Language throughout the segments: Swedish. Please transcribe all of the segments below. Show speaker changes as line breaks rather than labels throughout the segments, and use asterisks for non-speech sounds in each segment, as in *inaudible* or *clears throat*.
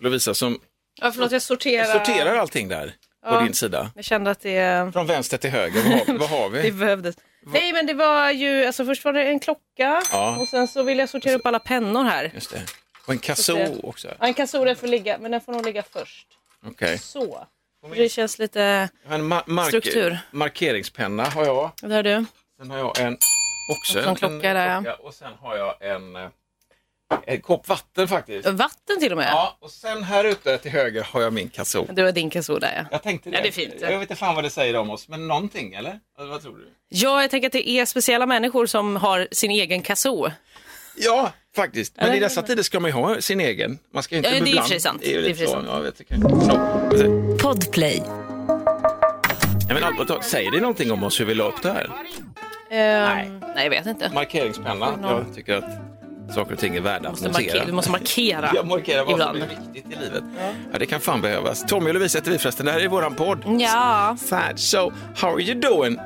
Lovisa som
Ja, förlåt, jag sorterar.
sorterar allting där på
Ja.
din sida.
Jag kände att det,
Från vänster till höger, vad har, vad har
det
vi?
behövdes. Nej, men det var ju, alltså först var det en klocka
Ja.
och sen så vill jag sortera upp alla pennor här.
Just det. Och en kazoo också.
Ja, En kassor får ligga, men den får nog ligga först.
Okej.
Så. Det känns lite...
Jag har En ma- mark-
Struktur.
Markeringspenna har jag.
Där är du.
Sen har jag en också.
Som klocka
en
där, ja.
Och sen har jag en, eh, en kopp vatten faktiskt.
Vatten till och med.
Ja, och sen här ute till höger har jag min kazoo.
Det var din kassor där ja.
Jag tänkte det.
Ja, det är fint.
Jag vet inte fan vad det säger om oss, men någonting eller? Eller Vad tror du?
Ja, jag tänker att det är speciella människor som har sin egen kassor.
Ja, faktiskt. Men
Eller?
i dessa tider ska man ju ha sin egen. Man ska ju inte
Ja, det är i och
beblanda-
för sig sant.
Det är ju
Det är
lite
i och för
så.
sig
Ja, jag tycker. Så.
Podplay.
Ja, men Albert, säger det någonting om oss hur vi la upp det här?
nej. Ehm, nej, jag vet inte.
Markeringspenna. Jag tycker att saker och ting är värda att
Du,
notera.
marker, du måste markera.
Jag markerar vad
ibland.
som är viktigt i livet. Ja. det kan fan behövas. Tommy och Lovisa heter vi förresten. Det här är våran podd.
Ja,
Sad. So, how are you doing?
nej,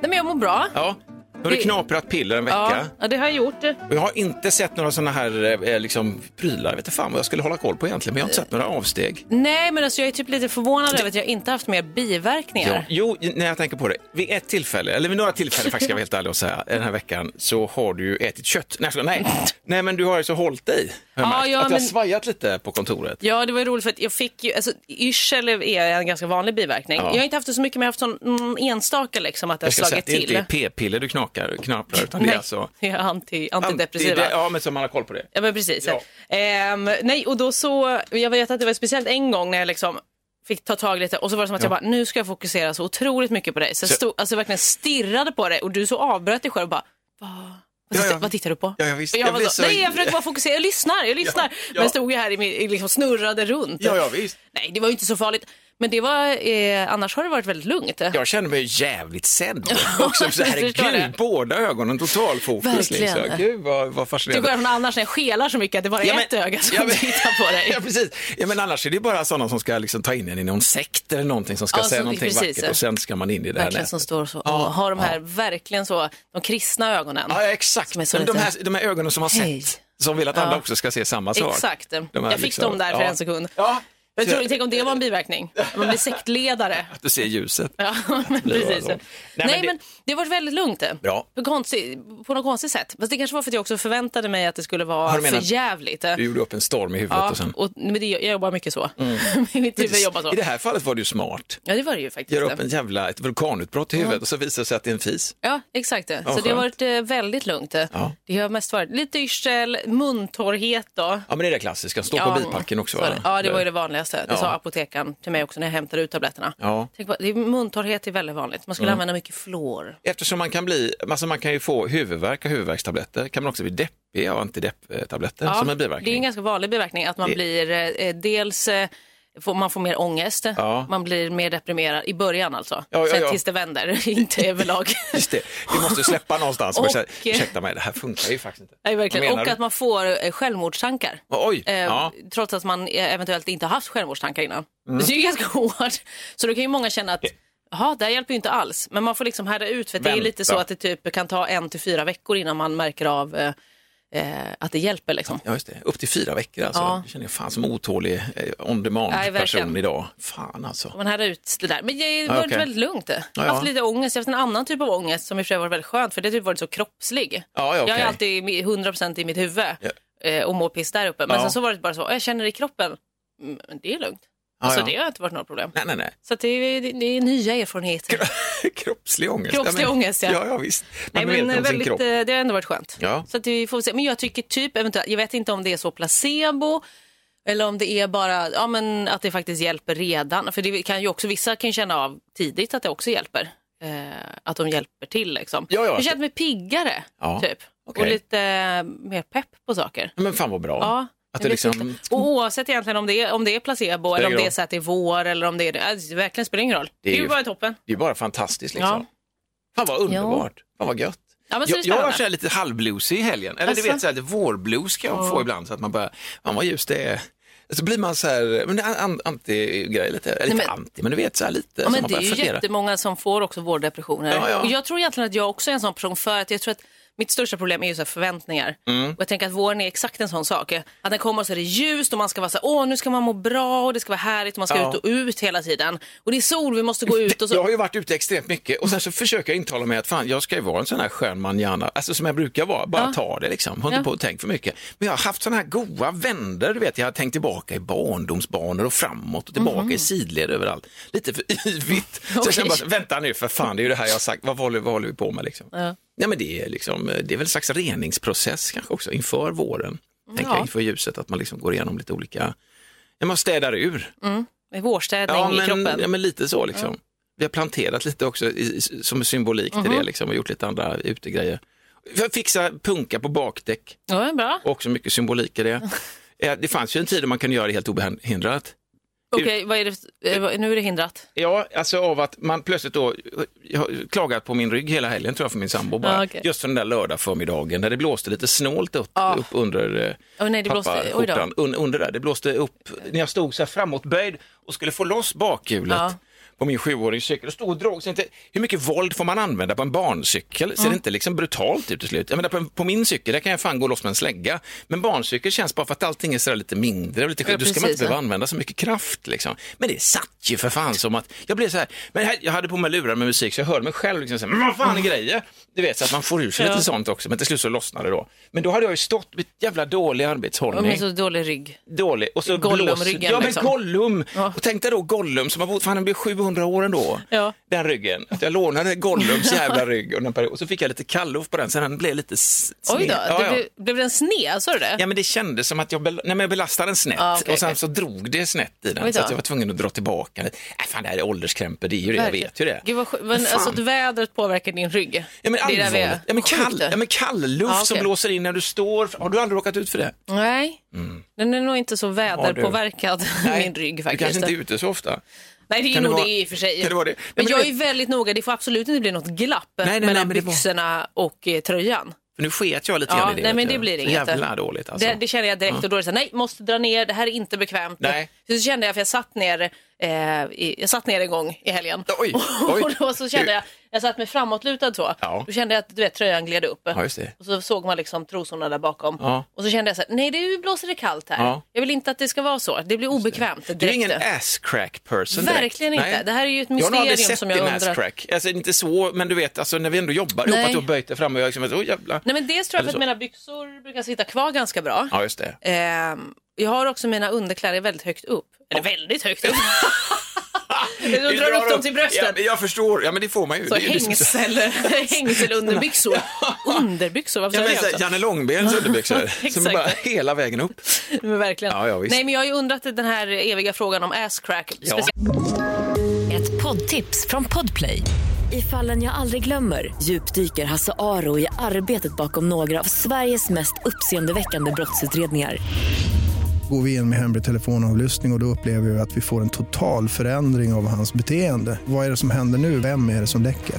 men jag mår bra.
Ja, nu har du
Det-
knaprat piller en
Ja,
vecka.
Eh. ja, det har jag gjort.
Och jag har inte sett några sådana här eh, liksom, prylar. Jag vet inte fan vad jag skulle hålla koll på egentligen, men jag har inte sett några avsteg.
Nej, men alltså, jag är typ lite förvånad över att jag inte haft mer biverkningar.
Ja. Jo, när jag tänker på det. Vid ett tillfälle, eller vid några tillfällen faktiskt ska jag vara helt ärlig och säga, den här veckan så har du ju ätit kött. Nej, jag skojar. nej. nej men du har ju så hållit dig. har jag
Ja,
märkt.
ja,
att det har
men-
svajat lite på kontoret.
Ja, det var ju roligt för att jag fick ju, alltså yrsel är en ganska vanlig biverkning. Jag har inte haft det så mycket, men jag har haft sån mm, enstaka liksom att det har
Jag ska säga att
slagit
det inte är
till.
p-piller du knakar, knaprar, utan det
*laughs* Nej,
är alltså
det är anti, antidepressiva.
Anti- det- Ja, men som man har koll på det.
Ja, men precis.
Ja.
Ehm, nej, och då så, jag vet att det var speciellt en gång när jag liksom fick ta tag lite och så var det som att jag bara, nu ska jag fokusera så otroligt mycket på dig. Så jag
Så-
stod, alltså verkligen stirrade på dig och du så avbröt dig själv och bara, vad, vad,
Ja,
tittar-
ja.
vad tittar du på?
Ja, ja, visst.
Och jag
Jag
var
blir
så,
så-
nej, jag försöker bara fokusera, jag lyssnar, jag lyssnar.
ja.
Men stod jag här i min, i liksom snurrade runt.
Ja, ja, visst.
Nej, det var ju inte så farligt. Men det var, eh, annars har det varit väldigt lugnt.
Jag känner mig jävligt
*laughs*
sedd också. Så
jag förstår
herregud,
det.
båda ögonen total fokus.
Verkligen.
Liksom. Gud vad, vad
Det går
fascinerande.
från annars när jag skelar så mycket att det bara är
Ja, men-
ett öga som
ja, men-
tittar
*laughs*
på dig.
Ja, precis. Ja, men annars är det ju bara sådana som ska liksom ta in en i någon sekt eller någonting som ska
Ja,
säga
som-
någonting
precis.
vackert och sen ska man in i det här
Verkligen som
nätet.
står och så, och har de här verkligen så, de kristna ögonen.
Ja, ja, exakt.
Som är så
Men de,
lite-
här, de här ögonen som har sett,
Hej.
som vill att andra också ska se samma sak.
Exakt,
De här
jag fick
liksom-
dem där för
ja.
en sekund.
Ja,
Jag
Så
tror, tänk om det var en biverkning, att man blir sektledare.
att du ser ljuset.
Ja, *laughs* men precis.
Nej,
Nej,
men det-
men det har varit väldigt lugnt. det.
Bra.
På, konstigt, på något konstigt sätt. Fast det kanske var för att jag också förväntade mig att det skulle vara
Har du menat-
för jävligt. eh.
Du gjorde upp en storm i huvudet
Ja,
och sen...
och, men det, jag jobbar mycket så. *laughs* Mitt huvud jobbar så.
Mm. I det här fallet var du smart.
Ja, det var det Mm. ju faktiskt. eh.
Gör upp en jävla, ett vulkanutbrott i huvudet och så visar det sig att det är en fis.
Ja, exakt. Det. så
skönt.
det har varit eh, väldigt lugnt.
Ja.
Det har mest varit lite yrsel, muntorrhet då.
Ja men det är det klassiska, stå på bipacken också.
så
va?
var det. Ja, det var ju det vanligaste. Det
Ja.
sa apotekaren till mig också när jag hämtade ut tabletterna.
Ja. Mm.
Tänk på, det är, muntorrhet är väldigt vanligt. Man skulle använda mycket fluor.
Eftersom man kan bli, alltså man kan ju få huvudvärk av huvudvärkstabletter, kan man också bli deppig av antidepptabletter som en
det är
biverkning.
en ganska vanlig biverkning att man
Det-
blir eh, dels eh, Får, man får mer ångest,
Ja.
man blir mer deprimerad i början alltså.
Ja, ja,
Sen
ja.
tills det vänder, *laughs*
*laughs*
inte överlag.
Just det, det måste släppa någonstans. Och,
Och-
säga, Ursäkta mig, det här funkar ju faktiskt inte.
*laughs* Nej,
Vad
verkligen.
menar
Och
du?
att man får eh, självmordstankar.
Oj,
Eh,
ja. Mm.
Trots att man eh, eventuellt inte har haft självmordstankar innan. Så Det är ju ganska *laughs* hårt. Så då kan ju många känna att Jaha, det här hjälper ju inte alls. Men man får liksom härda ut för att det är
Vänta.
lite så att det typ kan ta en till fyra veckor innan man märker av eh, eh, att det hjälper. Liksom.
Ja, just det. Upp till fyra veckor alltså.
Ja.
Jag känner jag fan som otålig eh, on
Nej,
demand person
verkligen.
idag. Fan alltså.
Man härdar ut det där. Men det har varit
Ah, okej.
väldigt lugnt. Jag
Ja,
har
ja.
haft lite ångest. Jag har haft en annan typ av ångest som i och för sig har varit väldigt skönt för det har typ varit så kroppslig.
Ja, ja,
Jag
okej.
är alltid i- 100% i mitt huvud
Ja.
eh, och mår piss där uppe. Men
Ja.
sen så var det bara så, jag känner det i kroppen. Mm, Men det är lugnt. Alltså
Ah, ja.
det har inte varit några problem.
Nej, *laughs* nej, nej.
Så att det, är, det- det är nya erfarenheter.
Kroppslig ångest.
Kroppslig
ja, men,
ångest, ja.
Ja, ja visst.
Nej,
Man
men
vet om sin
väldigt, eh,
kropp.
det har ändå varit skönt.
Ja.
Så att vi får se. Men jag tycker typ, eventuellt, jag vet inte om det är så placebo eller om det är bara ja, men att det faktiskt hjälper redan. För det kan ju också, vissa kan ju känna av tidigt att det också hjälper. Eh, att de hjälper till liksom.
Ja, ja,
jag
alltså-
känner mig piggare
Ja,
typ.
okej.
Och lite eh, mer pepp på saker.
Men fan vad bra.
Ja.
Att
jag
det
vet
liksom...
inte. Och oavsett egentligen om det är, om det är placebo eller om
ingen
det är
roll.
så att det är vår eller om det är... Alltså, det verkligen spelar ingen roll. Det är, ju bara toppen.
Det är bara fantastiskt liksom.
Ja.
Fan vad underbart. Fan vad gött.
Ja, men så är
Jag,
det
jag var
spännande.
så här lite halvbluesig i helgen. Eller du
Alltså?
vet, så här, vårblues kan jag få ibland. Så att man bara, fan vad ljust det är. Så blir man så här, men det är an, anti-grej lite. Eller inte
men-
anti, men du vet så här lite.
Ja,
så
men
man
det är
börjar
ju
fundera.
jättemånga som får också vårddepressioner.
Ja, ja.
Och jag tror egentligen att jag också är en sån person för att jag tror att Mitt största problem är ju så här förväntningar.
Mm.
Och jag tänker att våren är exakt en sån sak. Att den kommer och så är det ljust och man ska vara så här, åh nu ska man må bra och det ska vara härligt och man ska
Ja.
ut och ut hela tiden. Och det är sol, vi måste gå ut
*laughs*
och så.
Jag har ju varit ute extremt mycket och sen så försöker jag intala mig att fan, jag ska ju vara en sån här skön manjana, alltså som jag brukar vara, bara ta det liksom, har inte
Ja.
på och tänkt för mycket. Men jag har haft såna här goa vänder, du vet, jag har tänkt tillbaka i barndomsbanor och framåt och
Mhm.
tillbaka i sidled överallt. Lite för yvigt. Så jag känner bara, så, vänta nu för fan, det är ju det här jag har sagt, vad håller, vad håller vi på med liksom?
Ja.
Nej, men det, är liksom, det är väl en slags reningsprocess kanske också inför våren, tänker jag, inför ljuset, att man liksom går igenom lite olika, ja, man städar ur
Det är vårstädning
ja,
i
men,
kroppen.
Ja, men lite så liksom. Vi har planterat lite också i, som symbolik till
Mhm.
det liksom, och gjort lite andra utegrejer. För att fixa punka på bakdäck,
Ja, bra.
också mycket symbolik i
*laughs*
det. Eh, det fanns ju en tid då man kunde göra det helt obehindrat.
Okej, vad är det? eh, vad- Nu är det hindrat.
Ja, alltså av att man plötsligt då, jag har klagat på min rygg hela helgen tror jag för min sambo bara.
Ja, okej. Ah.
Just för den där lördag förmiddagen när det blåste lite snålt upp, upp under eh,
Åh nej, det blåste. Oj då.
pappaskjortan, un, under där. Det blåste upp, när jag stod så här framåtböjd och skulle få loss bakhjulet
Ja.
på min sjuårings cykel och stod och drog. Så inte, hur mycket våld får man använda på en barncykel? Ser det inte liksom brutalt ut till slut? Jag menar, på, en- på min cykel där kan jag fan gå loss med en slägga. Men barncykel känns bara för att allting är så där lite mindre och lite
Ja,
skit. Då ska man
precis,
inte behöva
ja.
använda så mycket kraft. Liksom. Men det satt ju för fan som att, jag blev så här, men här, jag hade på mig lurar med musik så jag hörde mig själv liksom så här, men vad fan är grejer? Du vet, så att man får ur sig
Mm. Ja.
lite sånt också, men till slut så lossnade det då. Men då hade jag ju stått med jävla dålig
Och
arbetshållning
med så dålig rygg.
dålig. Och så
Gollum-ryggen,
blåser- Ja, men
liksom.
Gollum.
Ja.
Och tänk dig då Gollum som har bott, fan den blir 700 år ändå.
Ja.
Den ryggen. Att jag lånade Gollums jävla rygg under en period. Och så fick jag lite kallof på den, sen den blev lite s- sned.
Oj då,
ja,
det
ja.
blev, blev den sned? Sa du det?
Ja men det kändes som att jag, bel- Nej, men jag belastade den snett
Ja, Ah, okej,
och sen
okej.
så drog det snett i
Oj
den
då.
så att jag var tvungen att dra tillbaka den. Äh, fan det här är ålderskrämpor, det är ju det, jag
Verkligen.
vet ju det.
Gud vad sjukt. men alltså att vädret påverkar din rygg.
Ja men
Det är där vi är.
allvarligt, ja, men
Sjukt
kall,
det.
ja, men kall luft
Ja, okej.
som blåser in när du står, har du aldrig råkat ut för det?
Nej, den är nog inte så väderpåverkad,
Mm. Nej.
*laughs* min rygg
Du kanske
faktiskt.
inte är ute så ofta?
Nej, det är
Kan det
nog
vara-
det i och för sig.
kan det vara det? Nej,
men
men
jag
du
är väldigt noga, det får absolut inte bli något glapp
nej, nej,
mellan
men det var-
byxorna och eh, tröjan.
För nu sket jag lite
Ja,
grann i det.
nej,
vet
men
du.
det blir
Så
inget.
Jävla dåligt alltså.
Det, det känner jag direkt och då är det så här, nej, måste dra ner, det här är inte bekvämt.
Nej.
Så kände jag, för jag satt ner, eh, i, jag satt ner en gång i helgen. *laughs*
Oj,
Och-
oj.
Och då så kände jag, jag satt med framåtlutad så.
Ja.
Då kände jag att du vet, tröjan gled upp.
Ja, just det.
Och så såg man liksom trosorna där bakom.
Ja.
Och så kände jag så här, nej det blåser det kallt här.
Ja.
Jag vill inte att det ska vara så. Det blir obekvämt direkt.
Du är ingen ass crack person direkt.
Verkligen inte.
Nej.
Det här är ju ett
Jag har nog aldrig
mysterium
sett
som jag
din ass
undrar.
crack. Alltså inte så, men du vet, alltså, när vi ändå jobbar ihop,
Nej.
att du har böjt dig fram och jag liksom, oh, jävlar.
Nej men dels tror jag
Eller
för att
så.
mina byxor brukar sitta kvar ganska bra.
Ja, just det.
Ehm, jag har också mina underkläder väldigt högt upp. Eller väldigt
*laughs*
högt upp. Du drar upp dem till
Ja,
brösten.
men jag förstår, ja men det får man ju.
Så
det är ju liksom så-
Alltså, hängsel, *laughs*
*laughs*
hängsel underbyxor. Underbyxor, varför
Ja,
säger
men,
jag
så,
det
här,
också?
Janne Långbens
*laughs*
underbyxor, som är
Exakt.
bara hela vägen upp.
*laughs* Men verkligen.
Ja, ja, visst.
Nej men jag har ju undrat den här eviga frågan om ass crack.
Ja.
Speciellt-
Ett poddtips från Podplay. I fallen jag aldrig glömmer djupdyker Hasse Aro i arbetet bakom några av Sveriges mest uppseendeväckande brottsutredningar.
går vi in med hemlig telefonavlyssning och, och då upplever vi att vi får en total förändring av hans beteende. Vad är det som händer nu? Vem är det som läcker?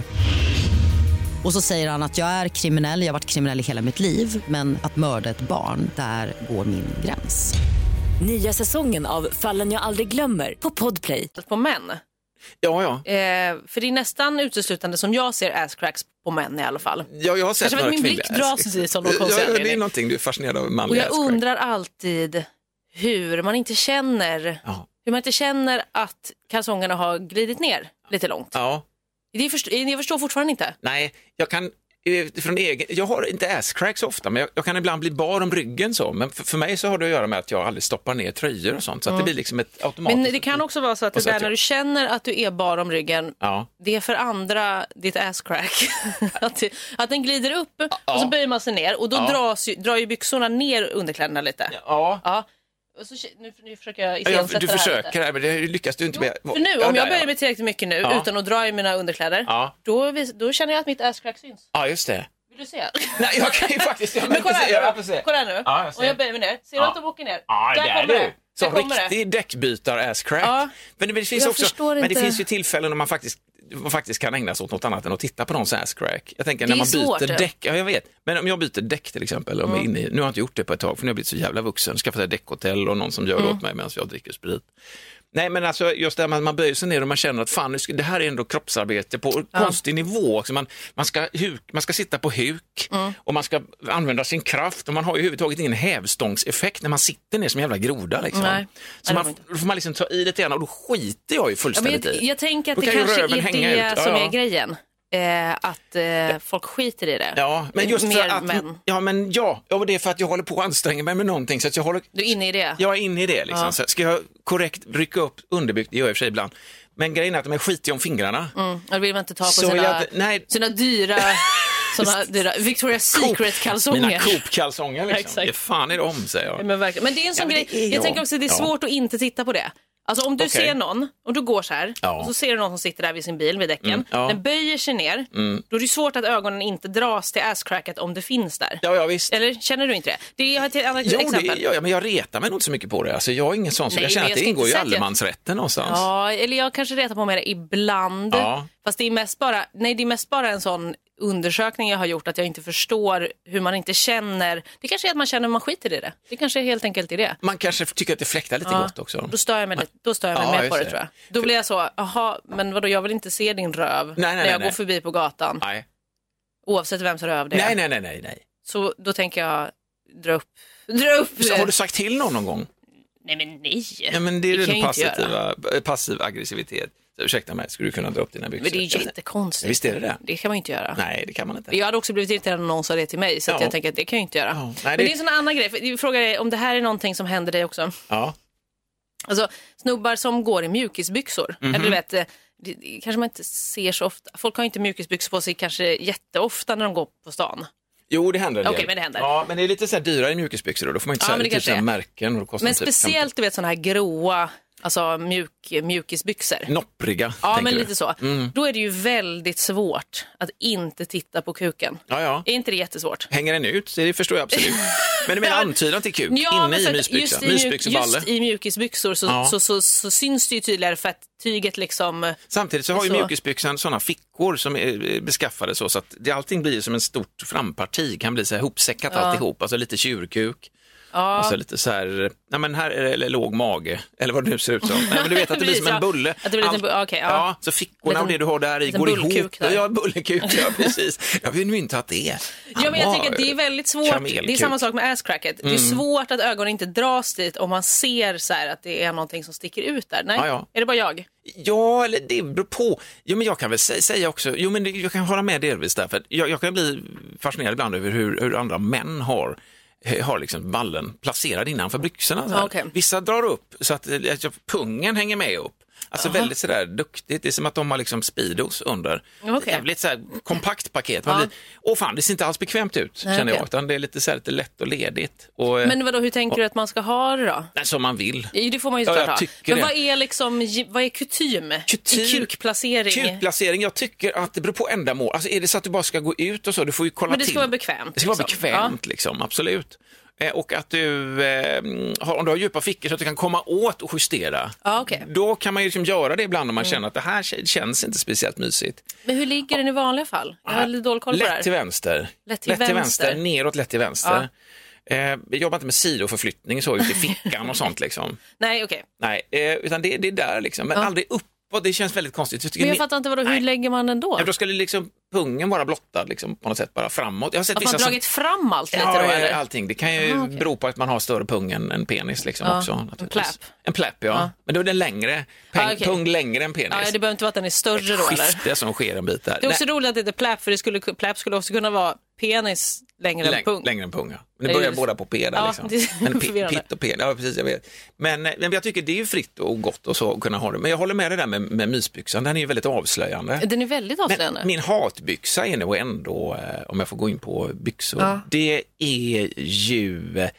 Och så säger han att jag är kriminell, jag har varit kriminell i hela mitt liv men att mörda ett barn, där går min gräns.
Nya säsongen av Fallen jag aldrig glömmer på Podplay.
på män.
Ja, ja.
Eh, för det är nästan uteslutande som jag ser ass cracks på män i alla fall.
Ja, jag har sett
Kanske för att
några
min blick
kvinnliga
dras
ass crack.
dit som någon konstig
ja, ja, Det är
anledning.
någonting, du är fascinerad av
Och
manliga
jag
ass crack.
undrar alltid hur man inte känner
Ja.
hur man inte känner att kalsongerna har glidit ner lite långt.
Ja.
Det förstår, jag förstår fortfarande inte.
Nej, jag kan eh, från egen, jag har inte asscrack så ofta, men jag, jag kan ibland bli bar om ryggen så. Men för, för mig så har det att göra med att jag aldrig stoppar ner tröjor och sånt, så att det blir liksom ett automatiskt...
Men det kan också vara så att det
Och så
där
att jag-
när du känner att du är bar om ryggen,
Ja.
det är för andra ditt ass crack. *laughs* att, det- att den glider upp och så böjer man sig ner och då
Ja.
dras ju, drar ju byxorna ner underkläderna lite. Ja.
Ja.
Och så, nu, nu försöker jag
Ja,
iscensätta
du
det här lite.
försöker, här, men det lyckas du inte med.
För nu,
ja,
om
där,
jag böjer
ja.
mig tillräckligt mycket nu
Ja.
utan att dra i mina underkläder,
Ja.
då, vis- då känner jag att mitt ass crack syns.
ja, just det.
Vill du se?
*laughs*
*laughs*
Nej, jag kan ju faktiskt... Jag
Men kolla
jag
här
får
nu.
se.
Kolla här nu.
Ja, jag ser.
Om jag böjer mig ner. Ser du
Ja.
att de åker ner?
Ja, där
kommer
du.
Där
Som
kommer det.
riktig däckbytar-asscrack.
Ja.
Men, det- men det finns
Jag
också,
förstår
men det
inte.
finns ju tillfällen när man faktiskt, man faktiskt kan ägna sig åt något annat än att titta på någons asscrack. Jag tänker
Det
när
är
man
svårt,
byter
det.
däck, ja jag vet, men om jag byter däck till exempel, om jag är inne i, nu har
Mm.
jag inte gjort det på ett tag för nu har jag blivit så jävla vuxen, skaffat ett däckhotell och någon som gör det åt mig medan jag dricker sprit. Nej, men alltså just det här med att man böjer sig ner och man känner att fan, nu ska- det här är ändå kroppsarbete på konstig nivå. Också. Man, man, ska huk, man ska sitta på huk
Mm.
och man ska använda sin kraft och man har ju överhuvudtaget ingen hävstångseffekt när man sitter ner som en jävla groda. Liksom.
Nej.
Så
Nej, det
man,
var
då får man liksom ta i lite grann och då skiter jag ju
Ja, men
fullständigt
jag,
i.
jag tänker att
Då
det
kan ju
kanske
röven
är
hänga
det
ut. Ja,
som
ja.
är grejen. Eh, att eh, folk skiter i det.
Ja, men just
Mer
för att,
män.
ja, men ja, ja, och det är för att jag håller på att anstränga mig med någonting så att jag håller,
Du är inne i det?
jag är inne i det. Liksom. Så ska jag korrekt rycka upp underbyggt, det gör jag i och för sig ibland, men grejen är att de är skitiga om fingrarna.
Mm. Då vill man inte ta på
Så
sina,
jag- nej. *laughs*
sina dyra, såna dyra Victoria's
Mina
Secret-kalsonger. *laughs*
Coop-kalsonger liksom.
Exakt. Mm.
Det fan är det om, säger jag.
Men, verkligen. men det är en sån
men det
grej,
är
jag
jag.
tänker också att det är
Ja.
svårt att inte titta på det. Alltså om du
Okej.
ser någon, och du går så här,
Ja. Mm,
och så ser du någon som sitter där vid sin bil vid däcken,
ja. Mm.
den böjer sig ner, då är det svårt att ögonen inte dras till asscracket om det finns där.
Ja, ja visst.
Eller känner du inte det? Det är ett helt annat
Jo, det,
Eh, exempel.
ja, ja, men jag retar mig nog inte så mycket på det. Alltså, jag är ingen sån, så
Nej,
jag känner
men
att
jag
det
ska
ingår
inte
ju i
säga att jag-
allemansrätten någonstans.
Ja, eller jag kanske retar på mig det ibland.
Ja.
Fast det är, mest bara, nej, det är mest bara en sån undersökning jag har gjort att jag inte förstår hur man inte känner. Det kanske är att man känner att man skiter i det. Det kanske är helt enkelt i det.
Man kanske tycker att det fläktar lite gott också.
Då stör jag mig, lite, då stör jag mig
Ja,
mer
just
på det,
det.
tror jag. Då blir jag så, jaha, men vadå jag vill inte se din röv
nej,
när
nej,
jag
nej.
går förbi på gatan.
Nej.
Oavsett vems röv det är.
nej, nej, nej, nej, nej.
Så då tänker jag dra upp, dra upp
Så,
det.
har du sagt till någon någon gång?
Nej men nej.
Ja, men det är
kan
den
jag inte göra.
passiva, eh, passiv aggressivitet. Så, ursäkta mig, skulle du kunna dra upp dina byxor?
Men det är ju jättekonstigt.
Visst är det det?
Det kan man ju inte göra.
Nej, det kan man inte.
Jag hade också blivit irriterad om någon sa det till mig så att
Ja.
jag tänker att det kan jag ju inte göra.
Ja. Nej,
Men
det-
det är en sån annan grej. För jag frågar dig om det här är någonting som händer dig också.
Ja.
Alltså snubbar som går i mjukisbyxor.
Mhm.
Eller du vet, eh, det, det kanske man inte ser så ofta. Folk har ju inte mjukisbyxor på sig kanske jätteofta när de går på stan.
Jo, det händer en del.
Okej, men det händer.
Ja, men det är lite så här dyrare i mjukisbyxor då. Då får man inte
Ja,
så här,
men det
det typ
kanske
så här
är.
märken. Och då kostar
Men
de typ
speciellt du vet såna här gråa, alltså mjuk, mjukisbyxor.
15. Noppriga,
ja,
Mm, tänker
men
du? Mm.
lite så. Då är det ju väldigt svårt att inte titta på kuken.
Ja, ja.
Är inte det jättesvårt?
Hänger den ut? Det förstår jag absolut.
*laughs*
Men du menar antydan till kuk inne
men för
i
att
mysbyxan?
mjuk-
Mysbyxeballe?
Just i mjukisbyxor så,
Ja.
så, så, så syns det ju tydligare för att tyget liksom...
Samtidigt så har ju
så.
mjukisbyxan sådana fickor som är eh, beskaffade så, så att det, allting blir som en stort framparti, kan bli så här hopsäckat alltihop, alltså lite tjurkuk. Alltså lite så här, nej men här är det eller låg mage, eller vad det nu ser ut som. Nej, men du vet att det blir som en
Precis, *laughs* ja.
bulle.
Att det blir en liten
Allt-
bu- okej, ja.
ja. så fickorna
Liten-
och det du har där i
liten
går ihop.
bullkuk där.
Ja, bullekuk, ja precis. Jag vill ju inte att det.
Ja, men jag tänker att det är väldigt svårt.
kamelkuk. Mm.
Det är samma sak med asscracket. Det är svårt att ögonen inte dras dit om man ser så här att det är någonting som sticker ut där. Nej,
Ja, ja.
är det bara jag?
Ja, eller det beror på. Jo, men jag kan väl sä- säga också, jo, men det- jag kan hålla med delvis där, för att jag, jag kan bli fascinerad ibland över hur, hur andra män har eh, har liksom ballen placerad innanför byxorna. Så här.
Ja, okej.
Vissa drar upp så att, eh, att pungen hänger med upp. Alltså väldigt sådär duktigt. Det är som att de har liksom Speedos under.
Ja, okej.
Jävligt såhär kompakt paket. Man blir, Åh fan, det ser inte alls bekvämt ut
Nej,
känner
okej.
jag. Utan det är lite, så här, lite lätt och ledigt. Och, eh,
Men vadå, hur tänker du att man ska ha det då?
nej, som man vill.
Jo, Det får man ju
Ja, jag
såklart ha.
tycker
Men
det.
vad är, liksom, vad är kutym? I kukplacering?
Kukplacering, jag tycker att det beror på ändamål. Alltså är det så att du bara ska gå ut och så, du får ju kolla
Men det ska
till.
vara bekvämt,
Det ska vara
liksom.
bekvämt, liksom, absolut. Eh, Och att du, eh, har, om du har djupa fickor så att du kan komma åt och justera.
Ja, Mm. okej.
Då kan man ju liksom göra det ibland om man känner att det här k- känns inte speciellt mysigt.
Men hur ligger den i vanliga fall? Jag har lite dålig koll på det
Lätt till
här.
vänster.
Lätt till vänster.
neråt, lätt till vänster. Eh, vi jobbar inte med sidoförflyttning så ut i fickan och sånt liksom.
Nej, okej.
Nej, eh, utan det, det är där liksom. Men aldrig uppåt, det känns väldigt konstigt. Jag tycker
Men jag
ni-
fattar inte, vadå, hur
Nej.
lägger man den då?
Ja, då skulle liksom pungen vara blottad liksom, på något sätt, bara framåt. Jag har sett
Att man
vissa
dragit fram allt lite
som...
då
Ja,
eller?
ja, allting. Det kan ju bero på att man har större pung än, än penis liksom,
Ja,
också.
en
naturligtvis.
pläpp.
En pläpp, ja. Men då är den längre. Peng,
Ja, okej.
Pung längre än penis.
ja, det behöver inte vara att den är större då eller?
Skifte som sker en bit där.
Det är också
Nej,
roligt att det heter pläpp för det skulle, pläpp skulle också kunna vara penis längre än
läng-
pung.
Längre än pung, ja. Men
Det
det
är
börjar
ju-
båda på P där
Ja,
liksom.
det är
Men pi-
*laughs* förvirrande.
pitt och pen, ja precis, jag vet. Men, eh, men jag tycker det är ju fritt och gott och så att kunna ha det. Men jag håller med dig där med, med mysbyxan, den är ju väldigt avslöjande.
Den är väldigt avslöjande.
Men min hatbyxa är nog ändå, eh, om jag får gå in på byxor, det är ju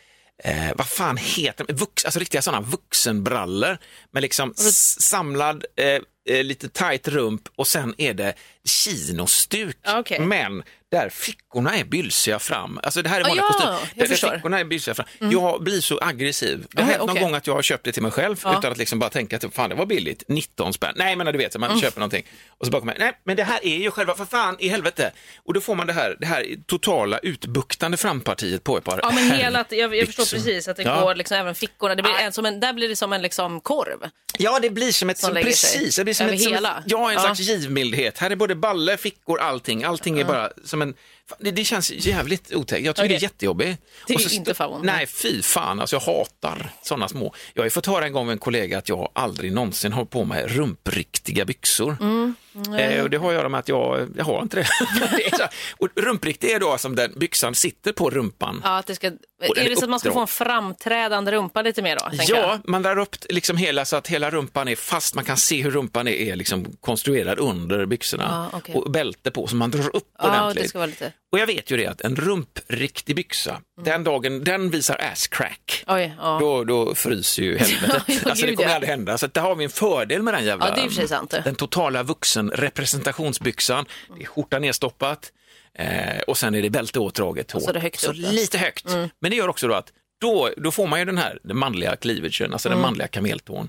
Eh, vad fan heter de? Vux, alltså riktiga sådana vuxenbrallor med liksom s- samlad eh, eh, lite tight rump och sen är det kinostuk.
Ja, okej.
Men där fickorna är bylsiga fram. Alltså det här är
Ah,
vanliga
ja,
kostymer.
jag
Där- där
förstår.
Fickorna är bylsiga fram. Jag blir så aggressiv. Det har
Mm.
hänt
Aha,
någon
okej.
gång att jag har köpt det till mig själv utan att liksom bara tänka att fan det var billigt, 19 spänn. Nej men du vet,
Mm.
man köper någonting och så bakom mig, nej men det här är ju själva, för fan i helvete. Och då får man det här, det här totala utbuktande frampartiet på ett par
Ja, men hela, att- jag, jag förstår
byxor.
precis att det
Ja.
går liksom, även fickorna. Det blir en, som en, där blir det som en liksom korv.
Ja, det blir som ett...
Som lägger sig
precis, det blir som
över
ett, som
hela.
Ett, ja, en
Ja.
slags givmildhet. Här är både balle, fickor, allting. Allting är bara som en... fan, Det, det känns jävligt otäckt. Jag tycker det är
Okej.
jättejobbigt.
Det är
Och så
inte
stå-
favorit.
Nej, fy fan. Alltså, jag hatar sådana små. Jag har ju fått höra en gång av en kollega att jag aldrig någonsin har på mig rumpriktiga byxor.
Mm,
Eh, och det har att göra med att jag, jag har inte det. *laughs* det är så, och rumpriktig är då som den byxan sitter på rumpan.
Ja, att det ska,
den
är det så att man ska
uppdrag.
få en framträdande rumpa lite mer då? tänker
Ja,
jag?
man drar upp liksom hela så att hela rumpan är fast, man kan se hur rumpan är, är liksom konstruerad under byxorna
Ja, okej.
och bälte på så man drar upp
Ja, och
ordentligt.
det ska Mm. vara lite...
Och jag vet ju det att en rumpriktig byxa, den dagen den visar ass crack,
Oj, ja.
då, då fryser ju helvetet.
*laughs* Ja,
alltså det
gud,
kommer
ja.
aldrig hända, så att där har vi en fördel med den jävla,
Ja, det är i och för sig sant, det.
den totala vuxenrepresentationsbyxan. Det är skjortan nedstoppat eh, och sen är det bälte åtdraget hår.
så är Alltså, det högt Mm.
så
uppe.
lite högt, men det gör också då att då, då får man ju den här den manliga cleavagen, alltså
Mm.
den manliga kameltån.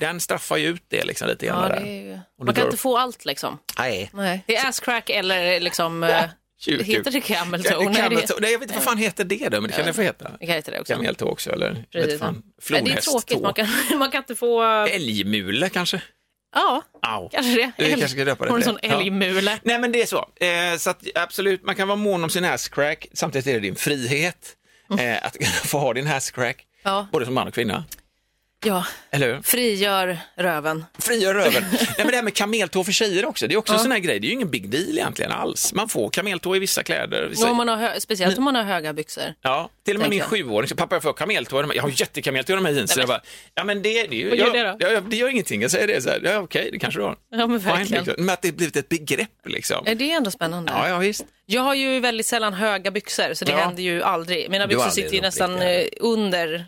Den straffar ju ut det liksom lite grann.
Ja, det
där.
är ju...
Och
Man
det
kan
drar-
inte få allt liksom.
Nej.
Nej. Det är asscrack eller liksom... eh,
Tjur,
Heter
tjur.
det
Ja,
cameltoe?
det
Nej,
kan
det
väl ta- Nej, jag vet inte vad fan heter det då, men det kan det få heta.
det kan heta det också.
Kameltå också eller jag vet
Precis.
fan, Eh.
Nej, det är tråkigt, man kan, *laughs* man kan inte få...
Älgmule kanske?
Ja,
Au.
kanske det.
Vi kanske ska döpa det
Har en
till
sån
det. Ja.
älgmule.
Nej men det är så. Eh, så att, absolut, man kan vara mån om sin asscrack, samtidigt är det din frihet
Mm.
eh, att *laughs* få ha din asscrack,
Ja.
både som man och kvinna.
Ja.
Eller hur?
Frigör röven.
Frigör
*laughs*
röven. Nej, men det här med kameltå för tjejer också, det är också en sån här grej, det är ju ingen big deal egentligen alls. Man får kameltå i vissa kläder. Vissa...
Och om man har hö- speciellt om man har höga byxor.
Ja, till och med min
Tänker
sjuåring, så, pappa jag får kameltå, i de här- jag har jättekameltå i de här jeansen. Jag bara, ja men det, det, är ju-
Vad gör
jag,
det då?
Ja, det gör ingenting, jag säger det så här, ja, okej det kanske du har.
Ja, men
Fine,
verkligen.
liksom. Men att det blivit ett begrepp liksom.
Eh, Det är ändå spännande.
Ja, ja visst.
Jag har ju väldigt sällan höga byxor så det
Ja.
händer ju aldrig. Mina byxor
aldrig
sitter
rumpriktig,
ju nästan eh, under,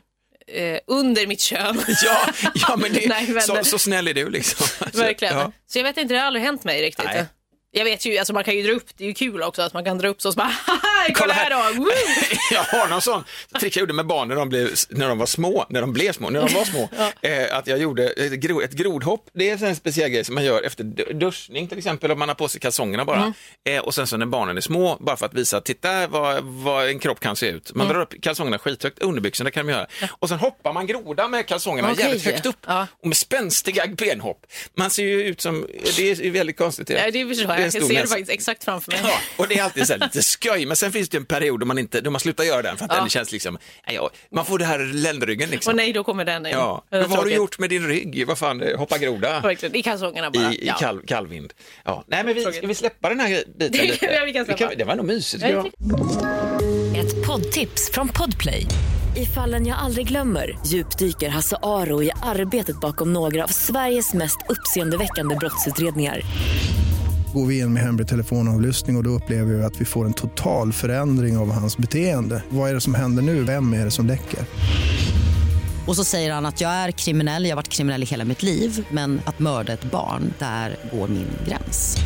eh, under mitt kön.
*laughs* Ja, ja men det,
*laughs* Nej, men-
så, så snäll är du liksom. Alltså,
*laughs* Verkligen.
Ja.
Så jag vet inte, det har aldrig hänt mig riktigt.
Nej.
Jag vet ju, alltså man kan ju dra upp, det är ju kul också att man kan dra upp så och så bara, *laughs* haha,
Kolla
kolla här då! Woo!
*laughs* Jag har någon sån trick jag gjorde med barn när de, blev, när de var små, när de blev små, när de var
*laughs*
små. eh, att jag gjorde ett, gro, ett grodhopp, det är en sån här speciell grej som man gör efter du- duschning till exempel, om man har på sig kalsongerna bara.
Mm.
Eh, och sen så när barnen är små, bara för att visa, titta vad, vad en kropp kan se ut.
Mm.
Man drar upp kalsongerna skithögt, underbyxorna kan man göra. Och sen hoppar man groda med kalsongerna
Okej.
jävligt högt upp.
Ja.
Och med spänstiga benhopp. Man ser ju ut som, det är ju väldigt konstigt.
Nej, det förstår jag.
är en
Jag
stor
ser det
näsa.
faktiskt exakt framför mig.
Ja, och det är alltid så här lite skoj, men sen finns det en period då man, inte, då man slutar göra den för att den känns liksom, nej, ja, man får det här ländryggen liksom.
Och nej, då kommer den in.
ja.
Det är
Men vad har du
tråkigt.
gjort med din rygg? Vad fan, eh, hoppa groda
Verkligen, i kalsongerna
i,
bara.
i
Ja.
kall, kallvind. Ja. Nej, men vi,
Tråkigt.
ska vi släppa den här biten
kan
lite?
vi- vi kan släppa.
det var nog mysigt.
Ja,
tycker
jag
jag.
Ett poddtips från Podplay. I fallen jag aldrig glömmer djupdyker Hasse Aro i arbetet bakom några av Sveriges mest uppseendeväckande brottsutredningar.
Går vi in med hemlig telefonavlyssning och, och då upplever vi att vi får en total förändring av hans beteende. Vad är det som händer nu? Vem är det som läcker?
Och så säger han att jag är kriminell, jag har varit kriminell i hela mitt liv men att mörda ett barn, där går min gräns.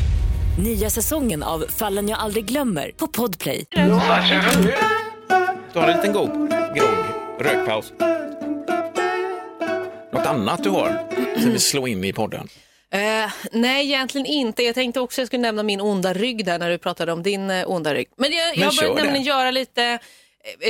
Nya säsongen av Fallen jag aldrig glömmer på Podplay.
Du har en liten god grogg, rökpaus. Något annat du har som vi slår in i podden?
Eh, nej, egentligen inte. Jag tänkte också jag skulle nämna min onda rygg där när du pratade om din eh, onda rygg. Men jag, jag har
kör
börjat
det.
nämligen göra lite, eh,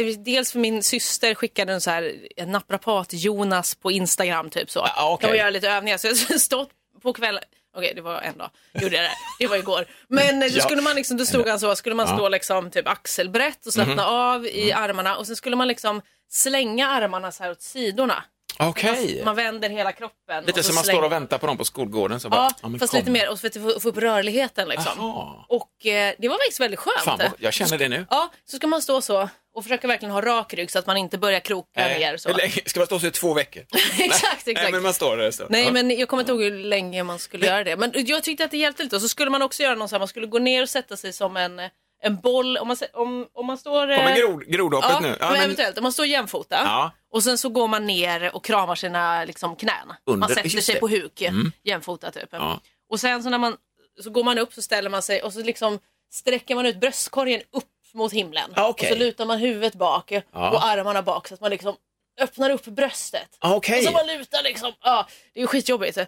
eh, dels för min syster skickade en så här en naprapat-Jonas på Instagram typ så.
Ja, okej.
Kan man göra lite övningar. Så jag *laughs* har stått på kvällen, okej det var en dag, gjorde jag det. Det var igår. Men eh,
*laughs*
då
Ja.
skulle man liksom, då stod han så, skulle man stå liksom typ axelbrett och slappna
Mhm.
av i
Mm.
armarna och sen skulle man liksom slänga armarna så här åt sidorna.
Okej.
Man vänder hela kroppen.
Lite
och så
som man
slänger-
står och väntar på dem på skolgården. Så bara,
Ja,
men
fast
kom.
lite mer och för att få- få upp rörligheten liksom.
Jaha.
Och eh, det var faktiskt väldigt skönt.
Fan, vad- jag känner det nu.
Ja, så ska man stå så och försöka verkligen ha rak rygg så att man inte börjar kroka ner. Så.
Hur länge- Eh, *laughs* Ska man stå så i två veckor?
*laughs* exakt,
Nej,
exakt.
men man står där en stund.
Nej,
Ja.
men jag kommer inte ihåg hur länge man skulle göra det. Men jag tyckte att det hjälpte lite. Och så skulle man också göra någon så här, man skulle gå ner och sätta sig som en, en boll, om man, sä- om, om man står... eh,
Kommer grod, grodhoppet
ja,
nu?
men Eventuellt, om man står jämfota
Ja.
och sen så går man ner och kramar sina liksom, knän.
Under-
man sätter
just
sig
det. Mm.
på huk jämfota typ.
Ja.
Och sen så när man så går man upp så ställer man sig och så liksom sträcker man ut bröstkorgen upp mot himlen.
Ah, okej.
Och så lutar man huvudet bak
Ja.
och armarna bak så att man liksom öppnar upp bröstet.
Ah, Okej.
Och så man lutar liksom. Ja, det är ju skitjobbigt.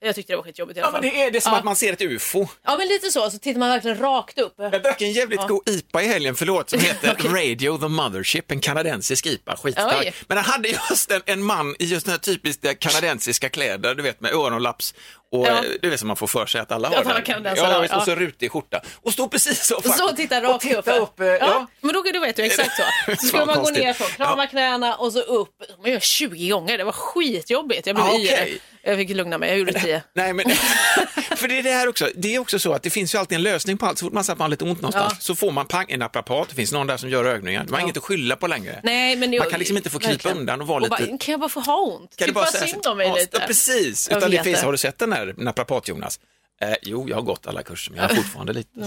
Jag tyckte det var skitjobbigt i alla
Ja,
fall.
men det är, det är som
Ja.
att man ser ett ufo.
Ja men lite så, så tittar man verkligen rakt upp.
Jag drack en jävligt god IPA i helgen, förlåt,
*laughs*
som heter Radio the Mothership, en kanadensisk IPA,
Oj.
skitstark. Men han hade just en, en man i just den här typiska kanadensiska kläder, du vet med öronlaps och
Ja.
eh, du vet som man får för sig att alla har.
Att alla
där.
kanadensare
ja,
har,
visst, och
ja.
så rutig skjorta. Och stod precis så faktiskt.
Så titta rakt
och titta
upp.
upp. eh, ja.
Men då, då vet du exakt
*laughs*
så. Så
Fan,
skulle man gå
konstigt.
ner så, krama knäna och så upp. Man gör 20 gånger, det var skitjobbigt. Jag blev
Ah,
yr.
okej.
Jag fick lugna mig, jag gjorde 10.
Nej, men, *laughs* för det är det här också, det är också så att det finns ju alltid en lösning på allt. Så fort man säger att man har lite ont någonstans
Ja.
så får man pang, en naprapat, det finns någon där som gör övningar. Man har inget att skylla på längre.
Nej, men jag,
man kan liksom inte få krypa
verkligen.
undan och vara lite...
bara, kan jag bara få ha ont?
Kan
Typ
du
bara
bara säga
synd
så-
om mig
ja,
lite.
Ja, precis.
Jag
Utan det
vet
finns,
det.
har du sett den här naprapat Jonas? Eh, jo, jag har gått alla kurser,
*laughs*
men jag har fortfarande lite så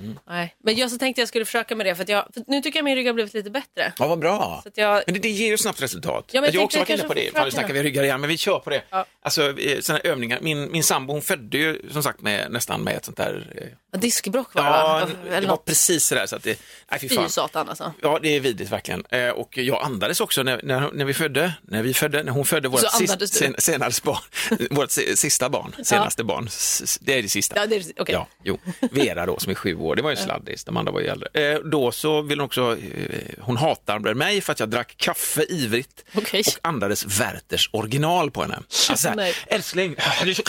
Mm.
här.
Nej. Men jag så tänkte jag skulle försöka med det för, att jag, för nu tycker jag min rygg har blivit lite bättre.
Ja, vad bra.
Så att jag,
Men det, det ger ju snabbt resultat.
Ja, men jag
jag har också varit inne
tänkte jag
på
kanske
det.
får
Fan, nu
försöka
snackar
det.
vi ryggar igen, men vi kör på det.
Ja.
Alltså, sådana övningar. Min, min sambo hon födde ju som sagt med, nästan med ett sånt där... eh,
ja, diskbråck var det,
Ja,
va?
det
Alltså, Eller
var
något.
precis sådär så att det... Nej, fy
Fy
fan.
satan alltså.
Ja, det är vidrigt verkligen. Eh, och jag andades också när, när, när vi födde, när vi födde, när hon födde vårt,
andades du?
sen, senare barn, *laughs* vårt si- sista barn, senaste barn. S- s- Det är det sista.
Ja, det är- okej.
ja, jo. Vera då som är sju år, det var ju sladdis, de andra var ju äldre. Eh, då så vill hon också, eh, hon hatar mig för att jag drack kaffe ivrigt
Okej.
och andades Werthers original på
*laughs*
henne. Alltså, så här,
Nej.
älskling, det är så...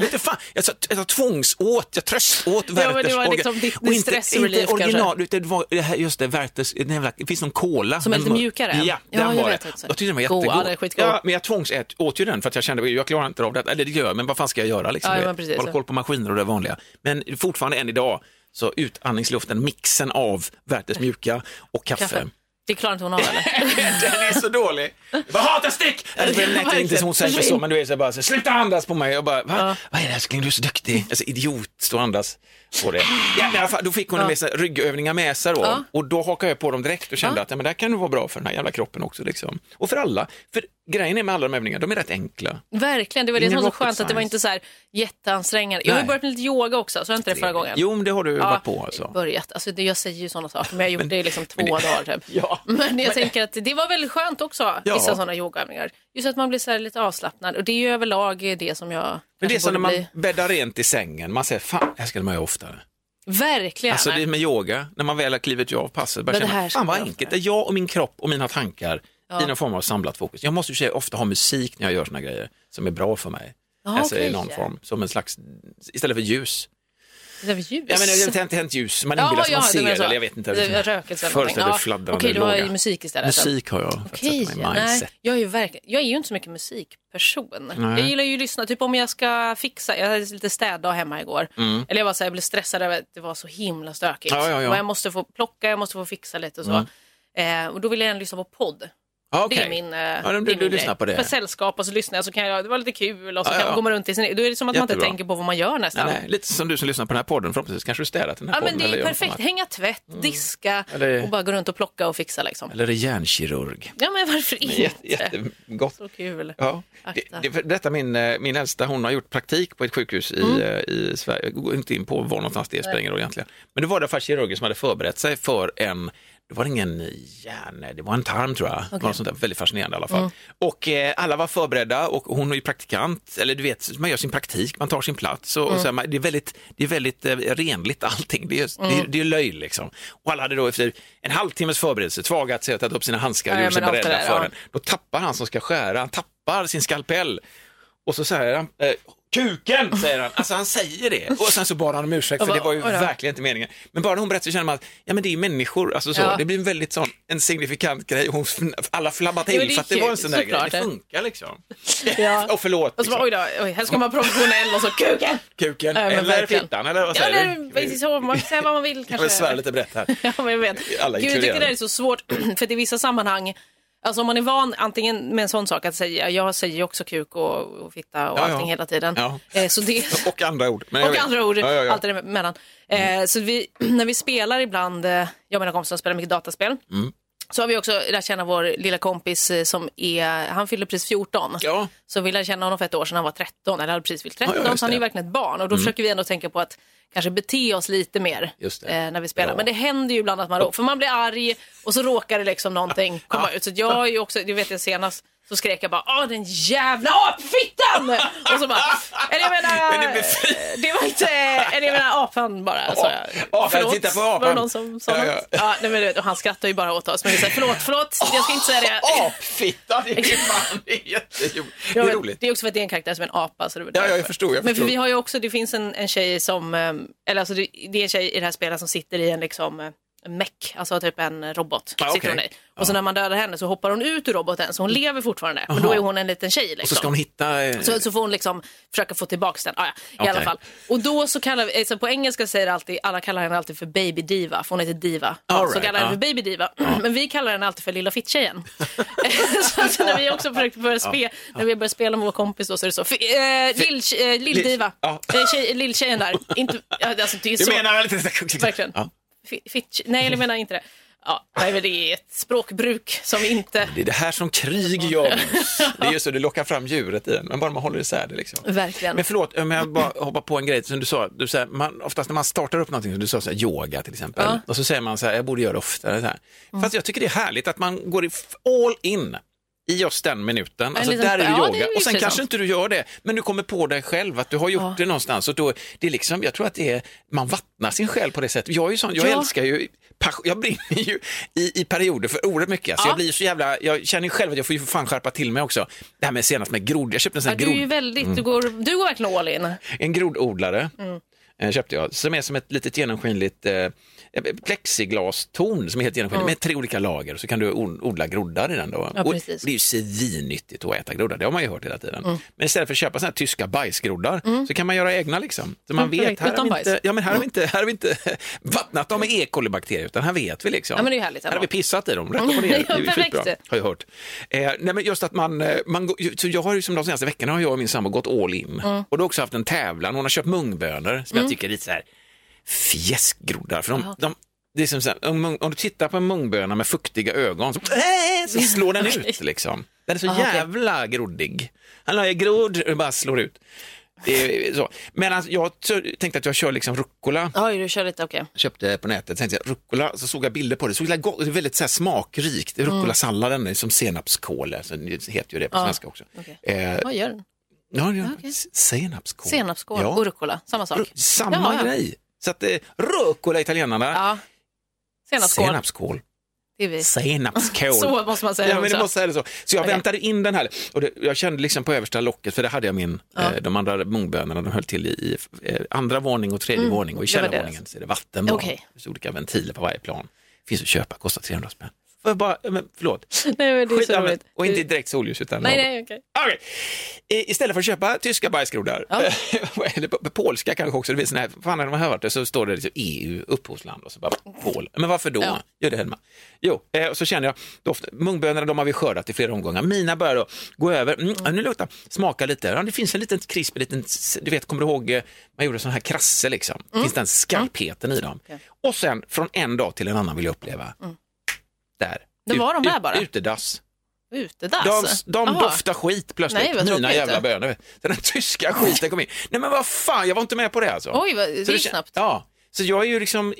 Vet du fan, jag, så, jag tvångsåt, jag tröståt
men det
Werthers
var liksom
orgi-
ditt-
och inte-
stressrelief
inte
kanske.
original, utan det var, det här- just det, Werthers, den jävla, det finns någon cola.
Som är
Men-
lite mjukare.
Ja,
Ja,
den
jag
var
vet
det.
också.
Jag tyckte den var
God,
jättegod.
ja, den är skitgod.
Ja, men jag tvångsät, åt ju den för att jag kände, jag klarar inte av det. Eller det gör jag, men vad fan ska jag göra liksom?
Ja,
Du vet,
men precis.
Hålla koll på maskiner och det vanliga. Men fortfarande än idag, så utandningsluften, mixen av Werthers mjuka och kaffe.
Kaffe. Det klarar inte hon av
*laughs*
eller?
den är så dålig. Jag bara, hatar stick! Eller, det lät ju inte som hon säger så, men du är så här bara, så, här, sluta andas på mig. Jag bara, Va? vad är det älskling, du är så duktig. Alltså idiot, stå och andas på det. Ja, men i alla fall, då fick hon en med sig, ryggövningar med sig då. Och då hakade jag på dem direkt och kände att ja, men det här kan nog vara bra för den här jävla kroppen också. Liksom. Och för alla. För grejen är med alla de övningarna, de är rätt enkla.
Verkligen, det var det som
Ingen
var så
rocket
skönt att det var
science.
inte så här jätteansträngande. Jag har ju
Nej.
börjat med lite yoga också, så jag inte det förra gången?
Jo, men det har du
Ja,
varit på alltså.
börjat. Alltså, det, jag säger ju sådana saker, men jag har gjort det i liksom två
men det-
dagar typ.
*laughs* Ja.
Men jag tänker att det var väldigt skönt också,
Ja.
vissa sådana yogaövningar. Just att man blir så här lite avslappnad och det är ju överlag det som jag
Men det är
kanske
som när
borde
man
bli.
bäddar rent i sängen, man säger fan, det här skulle man göra oftare.
Verkligen.
Alltså det är med yoga, när man väl har klivit av passet, bara
Men det
känner,
här
man, fan
ska
vad
jag
enkelt, det
göra."
är jag och min kropp och mina tankar i någon form av samlat fokus. Jag måste ju i och för sig ofta ha musik när jag gör såna grejer som är bra för mig.
Ja,
alltså i
okej.
någon form, som en slags, istället för ljus.
Det är väl ljus.
Jag menar, det har inte hänt ljus, man inbillar sig, man
det
ser,
menar så.
eller jag vet inte.
Det är Rökelse eller någonting.
Föreställer fladdrande
Okej, du har ju
låga.
musik istället.
Musik har jag, för att
Okej,
sätta mig i
nej.
mindset.
Jag, är ju verkligen, jag är ju inte så mycket musikperson.
Nej.
Jag gillar ju att lyssna, typ om jag ska fixa, jag hade lite städdag hemma igår. Eller jag var så här, jag blev stressad över att det var så himla stökigt.
Mm. Ja, ja, ja.
Och jag måste få plocka, jag måste få fixa lite och så. Eh, och då vill jag gärna lyssna på podd.
Ja,
Det
okej.
är min, eh,
ja, men
det
du,
är
du
min
lyssnar
grej.
på det.
För sällskap och så lyssnar jag så kan jag, det var lite kul och så
Ja,
kan,
ja.
går man runt i sin Då är det som att man
Jättebra.
inte tänker på vad man gör
Nej,
nästan.
nej, lite som du som lyssnar på den här podden, förhoppningsvis kanske du städat den här
Ja,
podden.
men det är
eller
ju
gör något
perfekt,
annat.
hänga tvätt,
Mm.
diska
Eller-
och bara gå runt och plocka och fixa liksom.
Eller är järnkirurg.
Ja men
*laughs*
varför inte?
Jätte, jättegott.
Så kul.
Ja,
Akta.
det, det, för detta min, eh, min äldsta, hon har gjort praktik på ett sjukhus i, eh, i Sverige. Jag går inte in på var någonstans det spelar ingen roll egentligen. Men det var det faktiskt kirurger som hade förberett sig för en, det var ingen hjärn, det var en tarm tror jag. Det var något sånt där, väldigt fascinerande i alla fall. Och eh, alla var förberedda och hon är ju praktikant, eller du vet, man gör sin praktik, man tar sin plats och, och så här, man, det är väldigt, det är väldigt eh, renligt allting. Det är, det, är, det är löj liksom. Och alla hade då efter en halvtimmes förberedelse tvagat sig och tagit upp sina handskar och
Ja,
gjort sig
men allt det
beredda
där,
för
ja.
den. Då tappar han som ska skära, han tappar sin skalpell och så säger han eh, Kuken, säger han. Alltså han säger det. Och sen så bad han om ursäkt, för
Jag
det var
bara,
ju
oj då.
verkligen inte meningen. Men bara när hon berättar så känner man att ja, men det är ju människor, alltså så.
Ja.
Det blir en väldigt sån, en signifikant grej. Hon, alla flabbar
Ja,
till,
men det är
för att det var en
kul,
sån där grej.
såklart.
Det funkar liksom. *laughs*
Ja.
och förlåt,
Och så bara, oj
liksom.
då, oj, här ska man vara professionell och så kuken.
kuken,
Ja, men
eller
verkligen.
fittan, eller vad
Ja,
säger
eller
du?
precis så, man kan säga vad man vill
Jag vill svära
kanske.
lite brett här.
*laughs* Ja, men jag vet.
Alla
Gud, jag tycker *clears throat*
inkluderade.
det här är så svårt, för att i vissa sammanhang Alltså om man är van antingen med en sån sak att säga, jag säger ju också kuk och, och fitta och
Ja, ja.
allting hela tiden.
Ja.
Eh, så det,
Och andra ord. Men *laughs* jag
*laughs* och
vet.
andra ord,
Ja, ja, Mm. ja.
allt däremellan. Eh, så vi, *clears throat* när vi spelar ibland, eh, jag menar kompisar spelar mycket dataspel,
Mm.
så har vi också lärt känna vår lilla kompis eh, som är, han fyller precis 14.
Ja.
Så vi lärde känna honom för ett år sedan, han var 13, eller hade precis fyllt 13,
Ja, ja, just
så han är
det. Mm.
ju verkligen ett barn. Och då försöker vi ändå tänka på att kanske bete oss lite mer
Just det.
eh, när vi spelar.
Ja.
Men det händer ju ibland att man, rå- för man blir arg och så råkar det liksom någonting
Ah.
komma ut. Så att jag är ju också, du vet jag senast, så skrek jag bara åh den jävla apfittan! och så bara, eller jag menar,
Men det blir fint.
eh, det var inte, eller jag menar apan bara sa jag.
Ah, apan,
Förlåt,
titta på
Var det
apan.
någon som sa
Ja, ja.
något? Ja, nej, men, du vet, och han skrattar ju bara åt oss. Men vi säger förlåt, förlåt, jag ska inte säga det.
Ah, Apfitta, det är ju fan det är jätteroligt. Det
Ja,
är
men
roligt.
Det är också för att det är en karaktär som är en apa. Så det var
Ja, ja, jag
därför.
förstod, jag
Men för
förstod.
vi har ju också, det finns en, en tjej som, eh, eller alltså det, det är en tjej i det här spelet som sitter i en liksom eh, en mech, alltså typ en robot.
Ja,
sitter
Ah, okej.
hon i. Och så när man dödar henne så hoppar hon ut ur roboten, så hon lever fortfarande. Men då är hon en liten tjej. Liksom.
Och så ska hon hitta... eh,
Så, så får hon liksom försöka få tillbaka den. Ah, ja, i alla
Okej.
fall. Och då så kallar vi, eh, så på engelska säger alltid, alla kallar henne alltid för baby diva, för hon heter diva.
All
så
right,
kallar henne
ja.
för baby diva, men vi kallar henne alltid för
*laughs*
lilla fitttjejen. *laughs* så att när vi också försökte börja spela, när vi började spela med vår kompis då så är det så, "Fi- eh, lill, eh, lilldiva,
Ja.
eh, tjej, lilltjejen där. Inte, ja, alltså, det är
Du
så,
menar *laughs* lite...
Verkligen.
Ja.
Fi- fitt- nej, jag menar inte det. Ja, nej, men det är ett språkbruk som vi inte
Det är det här som krig *laughs* gör. Det är ju så, det lockar fram djuret i en, men bara man håller isär det liksom.
Verkligen.
Men förlåt, om jag bara hoppar på en grej som du sa. Du säger, man, oftast när man startar upp någonting, som du sa så här, yoga till exempel,
Ja. Mm.
och så säger man så här, jag borde göra det oftare. Så här. Fast jag tycker det är härligt att man går i- all in i just den minuten. Alltså,
liten-
där är ju
ja, det är
yoga.
ju
och sen
precis
kanske
sant.
inte du gör det, men du kommer på dig själv att du har gjort det någonstans. Och då, det är liksom, jag tror att det är, man vattnar sin själ på det sättet. Jag är ju sån, jag
Ja.
älskar ju, passion- jag brinner ju i, i perioder för oerhört mycket. Alltså,
Ja.
jag, blir så jävla, jag känner ju själv att jag får ju för fan skärpa till mig också. Det här med senast med grod, jag köpte en sån
Ja,
här
du är ju
grod-
väldigt, du, går, du går verkligen all in.
en grododlare
Mm.
eh, köpte jag, som är som ett litet genomskinligt eh, plexiglastorn som är helt genomskinligt med tre olika lager så kan du od- odla groddar i den. Då.
Mm. Ja,
och det
precis. Mm.
är ju svinnyttigt att äta groddar, det har man ju hört hela tiden. Men istället för att köpa såna här tyska bajsgroddar så kan man göra egna. Liksom. Så man
Mm,
vet,
korrekt.
här har,
Utan
vi
bajs. Mm.
inte, ja, men här, har vi inte, här har vi inte *laughs* vattnat dem med E. coli-bakterier utan här vet vi. Liksom.
Ja, men det är ju härligt
här
ändå. Mm.
har vi pissat i dem, rätt upp och ner.
*laughs*
Det
Ja,
är ju
perfekt.
skitbra har jag hört. Eh, nej men just att man, eh, man går- ju- så jag har ju som de senaste veckorna har jag och min sambo gått all in.
Mm.
Och då har också haft en tävlan, hon har köpt mungbönor som jag tycker är lite så här fjäskgroddar. För de, de, det är som så här, om, mung- om du tittar på en mungböna med fuktiga ögon så, äh, så slår
*laughs*
den ut liksom. Den är så
Ah, okej.
jävla groddig. Han la grodd och bara slår ut. Det är så. Medan jag t- tänkte att jag kör liksom rucola
Oj, du kör lite, okej.
köpte på nätet, tänkte jag rucola, så såg jag bilder på det, så gott, det är väldigt så här smakrikt,
Mm.
rucolasalladen är som senapskål, alltså, det heter ju det på svenska också.
okej.
Eh,
Vad gör den?
ja, ja, s- Senapskål.
Senapsskål,
Ja.
rucola, samma sak.
Ru- Samma
Ja, ja.
grej. Så att eh, rucola italienarna,
Ja. Senapsskål,
senapskål,
det är vi.
senapskål.
Så måste man säga
Ja, men
också.
det måste säga det så. Så jag
Okej.
väntade in den här och det, jag kände liksom på översta locket, för det hade jag min, eh, de andra mungbönorna, de höll till i, i eh, andra våning och tredje våning och i
Mm, det var
källarvåningen så är det vatten. då.
Okej.
Det finns olika ventiler på varje plan. Finns att köpa, kostar 300 spänn. Får jag bara, eh, men förlåt,
Nej, men det är
Skit,
så
ja, men-
roligt.
och inte i direkt solljus utan
Nej, nej, okej.
Okej. I- Istället för att köpa tyska bajsgroddar,
Ja.
*laughs* eller p- polska kanske också, det finns såna här, fan när de har hört det så står det liksom EU, upphovsland och så bara Polen. Men varför då?
Ja.
Gör det Helma. Jo, eh, och så känner jag, doften- mungbönorna de har vi skördat i flera omgångar, mina börjar då gå över, mm, ja, nu luktar, smaka lite, ja, det finns en liten krisp, en liten, s- du vet, kommer du ihåg, eh, man gjorde sån här krasse liksom,
Mm.
finns den skarpheten i dem. Och sen från en dag till en annan vill jag uppleva, där.
Mm. Då var de
Ut-
där bara.
Utedass.
Utedass.
De, de
Jaha.
doftar skit
Alltså, Nej,
plötsligt,
vad
mina
tråkigt.
jävla bönor. Den här tyska skiten kom in. Nej men vad fan, jag var inte med på det alltså.
Oj, vad- det
Så
gick
kän-
snabbt.
Ja, så jag är ju liksom,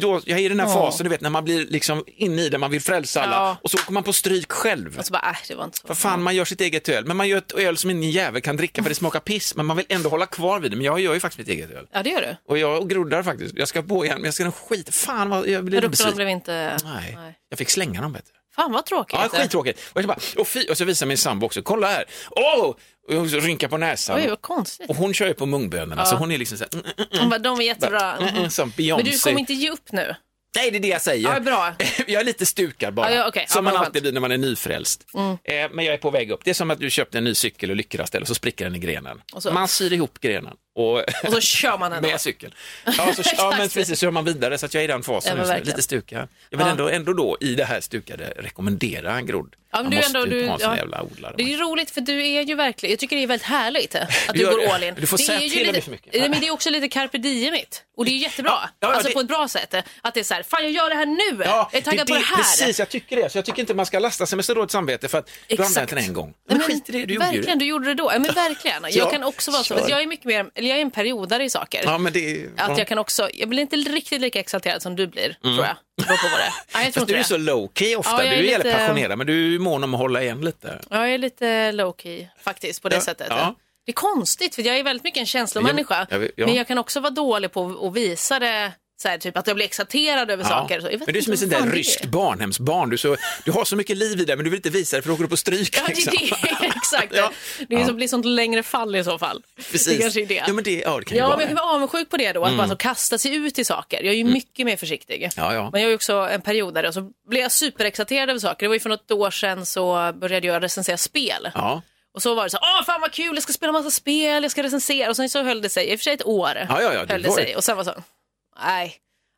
då, jag är i den här
Ja.
fasen du vet när man blir liksom inne i det, man vill frälsa alla
Ja.
och så kommer man på stryk själv.
Och så bara, äh, det var inte så.
Vad fan, man gör sitt eget öl, men man gör ett öl som ingen jävel kan dricka för det smakar piss, men man vill ändå hålla kvar vid det. Men jag gör ju faktiskt mitt eget öl.
Ja, det gör du.
Och jag groddar faktiskt, jag ska på igen, men jag ska nog skit, fan vad, jag blir
Rucolan
besviken.
blev inte...
Nej. jag fick slänga dem vet du.
Fan vad tråkigt.
Ja, skittråkigt. Och, jag bara, och, fi, och så visar min sambo också, kolla här, åh! Oh! Och så rynkar på näsan.
Oj, vad konstigt.
och hon kör ju på mungbönorna, så hon är liksom så här, mm, mm,
Hon bara, de är jättebra.
mm, mm, som Beyoncé.
Men du kommer inte ge upp nu?
Nej, det är det jag säger.
Ja, bra.
*laughs* jag är lite stukad bara,
Ja, ja, okej. Ja,
som
men
man
skönt. Mm.
alltid blir när man är nyfrälst. Eh, men jag är på väg upp. Det är som att du köpte en ny cykel och lyckas den och så spricker den i grenen.
så-
Man syr ihop grenen. Och,
Och så
*laughs*
kör man ändå.
med cykeln.
*laughs*
Ja, så, ja men precis, så gör man vidare så att jag är i den
Ja,
fasen
men
just nu.
verkligen.
Lite stuka. Jag vill
Ja.
ändå, ändå då i det här stukade rekommendera en grodd.
Ja, men
man
du är
måste
ändå-
ju
du-
ha en sån
ja.
jävla odlare.
Det är ju roligt för du är ju verkligen, jag tycker det är väldigt härligt eh, att du
gör
går
det.
all in.
Du får
det
säga
är ju
till om
lite,
det är för mycket.
Nej, men det är också lite carpe diemigt. Och det är ju jättebra.
ja,
alltså
det-
på ett bra sätt. Att det är så här, fan jag gör det här nu. eh." jag är taggad på det här.
Precis, jag tycker det. Så jag tycker inte man ska lasta sig med så dåligt samvete för att du har använt den en gång. Men,
Nej, men
skit i det, du gjorde ju
verkligen,
det.
du gjorde det då. Ja, men verkligen. Jag
Ja,
kan också vara så.
kör.
Jag är mycket mer, eller jag är en periodare i saker.
Ja, men det
Att
ja. Mm.
jag kan också, jag blir inte riktigt lika exalterad som du blir, tror jag. Det beror på vad det är. Nej, jag tror
Fast
inte
du är
det.
så low key ofta.
Ja, jag
du
är
är
lite-
jävligt passionerad men du är mån om att hålla igen lite.
Ja, jag är lite low key faktiskt på det
Ja,
sättet.
ja.
Det är konstigt för jag är väldigt mycket en känslomänniska.
Jag- jag- ja.
Men jag kan också vara dålig på att visa det, så här, typ att jag blir exalterad över saker. Så jag vet
men du är som ett
inte
sånt
vad
där
fan det är.
ryskt barnhemsbarn. Du, är så, du har så mycket liv i dig men du vill inte visa det för då åker du på stryk.
Ja, det är
liksom. *laughs*
det. *laughs* Exakt.
Ja.
Det är som blir sånt längre fall i så fall. Det kanske är det.
Ja, men det, ja, det kan ju
Ja,
vara
men jag kan
det.
vara avundsjuk på det då, att bara så kasta sig ut i saker. Jag är ju mycket mer försiktig.
Mm. Ja, ja.
Men jag är ju också en period där och så blev jag superexalterad över saker. Det var ju för något år sedan så började jag recensera spel.
Ja.
Och så var det så här, åh fan vad kul, jag ska spela massa spel, jag ska recensera. Och sen så höll det sig, i och för sig ett år.
Ja, ja, ja, det
höll det
var
sig.
ju-
Och sen var det så, nej.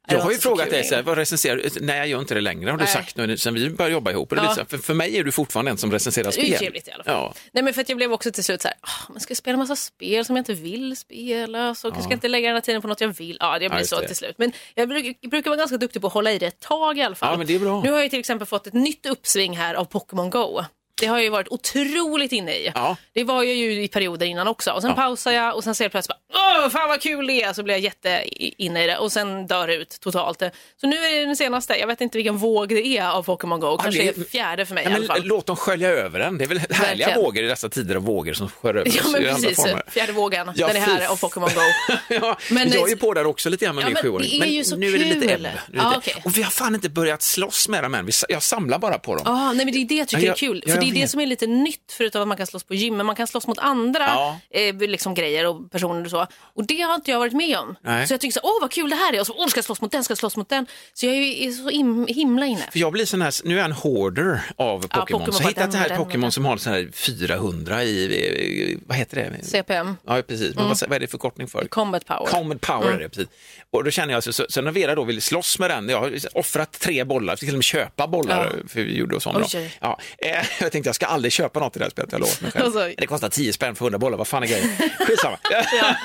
det
Jag
var
har ju
inte så
frågat
kul
dig, så här,
längre.
vad recenserar du? Nej, jag gör inte det längre har du
Nej.
sagt nu sen vi började jobba ihop. Och det är
Ja.
lite så här, för, för mig är du fortfarande en som recenserar
Det är
spel.
ju trevligt i alla fall.
Ja.
Nej men för att jag blev också till slut så här, "Ah, men ska jag spela massa spel som jag inte vill spela? Så ska jag inte lägga den här tiden på något jag vill? Ja, det blir
just
så
det.
till slut. Men jag bruk, brukar vara ganska duktig på att hålla i det ett tag i alla fall.
Ja, men det är bra.
Nu har jag ju till exempel fått ett nytt uppsving här av Pokémon Go. Det har jag ju varit otroligt inne i.
Ja.
Det var jag ju i perioder innan också. Och sen pausar jag och sen ser jag plötsligt bara, åh fan vad kul det är, så blir jag jätteinne i det och sen dör det ut totalt. Så nu är det den senaste, jag vet inte vilken våg det är av Pokémon Go, kanske
det
det
är-
är fjärde för mig
Ja,
i
men
alla fall.
låt dem skölja över en. Det är väl härliga
Verkligen.
vågor i dessa tider av vågor som sköljer över
Ja
oss
men
i andra
precis,
former.
fjärde vågen.
Ja,
den är
fy-
här av Pokémon *laughs* Go.
*laughs* ja,
Men- eh,
jag är ju på där också lite grann med
Ja,
min
men
sjuåring.
det är ju så
nu är det lite
kul.
ebb. Nu är det
Ja,
lite-
okej.
Och vi har fan inte börjat slåss med dem än. Vi, sa- jag samlar bara på dem.
Ja, Ah, nej, men det är det jag tycker
Ja,
är kul.
ja,
för
jag
det är det
vet.
som är lite nytt förutom att man kan slåss på gym. Men man kan slåss mot andra
Ja.
eh, liksom grejer och personer och så. Och det har inte jag varit med om.
Nej.
Så jag tycker så här, åh vad kul det här är. Och så, åh, ska jag slåss mot den, ska jag slåss mot den. Så jag är ju är så im- himla inne.
För jag blir sån här, nu är jag en hoarder av Pokémon.
Pokémon
så jag
var
har hittat det
den och
här
den och
Pokémon
den.
som har sån här 400 i, i- vad heter det?
CPM,
Ja, precis. Men
Mm.
vad, vad är det förkortning för?
combat power. Mm.
Common power är det, precis. Och då känner jag, så, så, så när Vera då vill slåss med den, jag har offrat tre bollar, jag fick till och med köpa bollar, för vi gjorde oss om då.
Oj, oj.
Ja, eh, jag tänkte jag ska aldrig köpa något i det här spelet, jag lovat mig själv.
*laughs* Alltså.
Men Det kostar 10 spänn för 100 bollar, vad fan är
*laughs*
grejen? Skitsamma.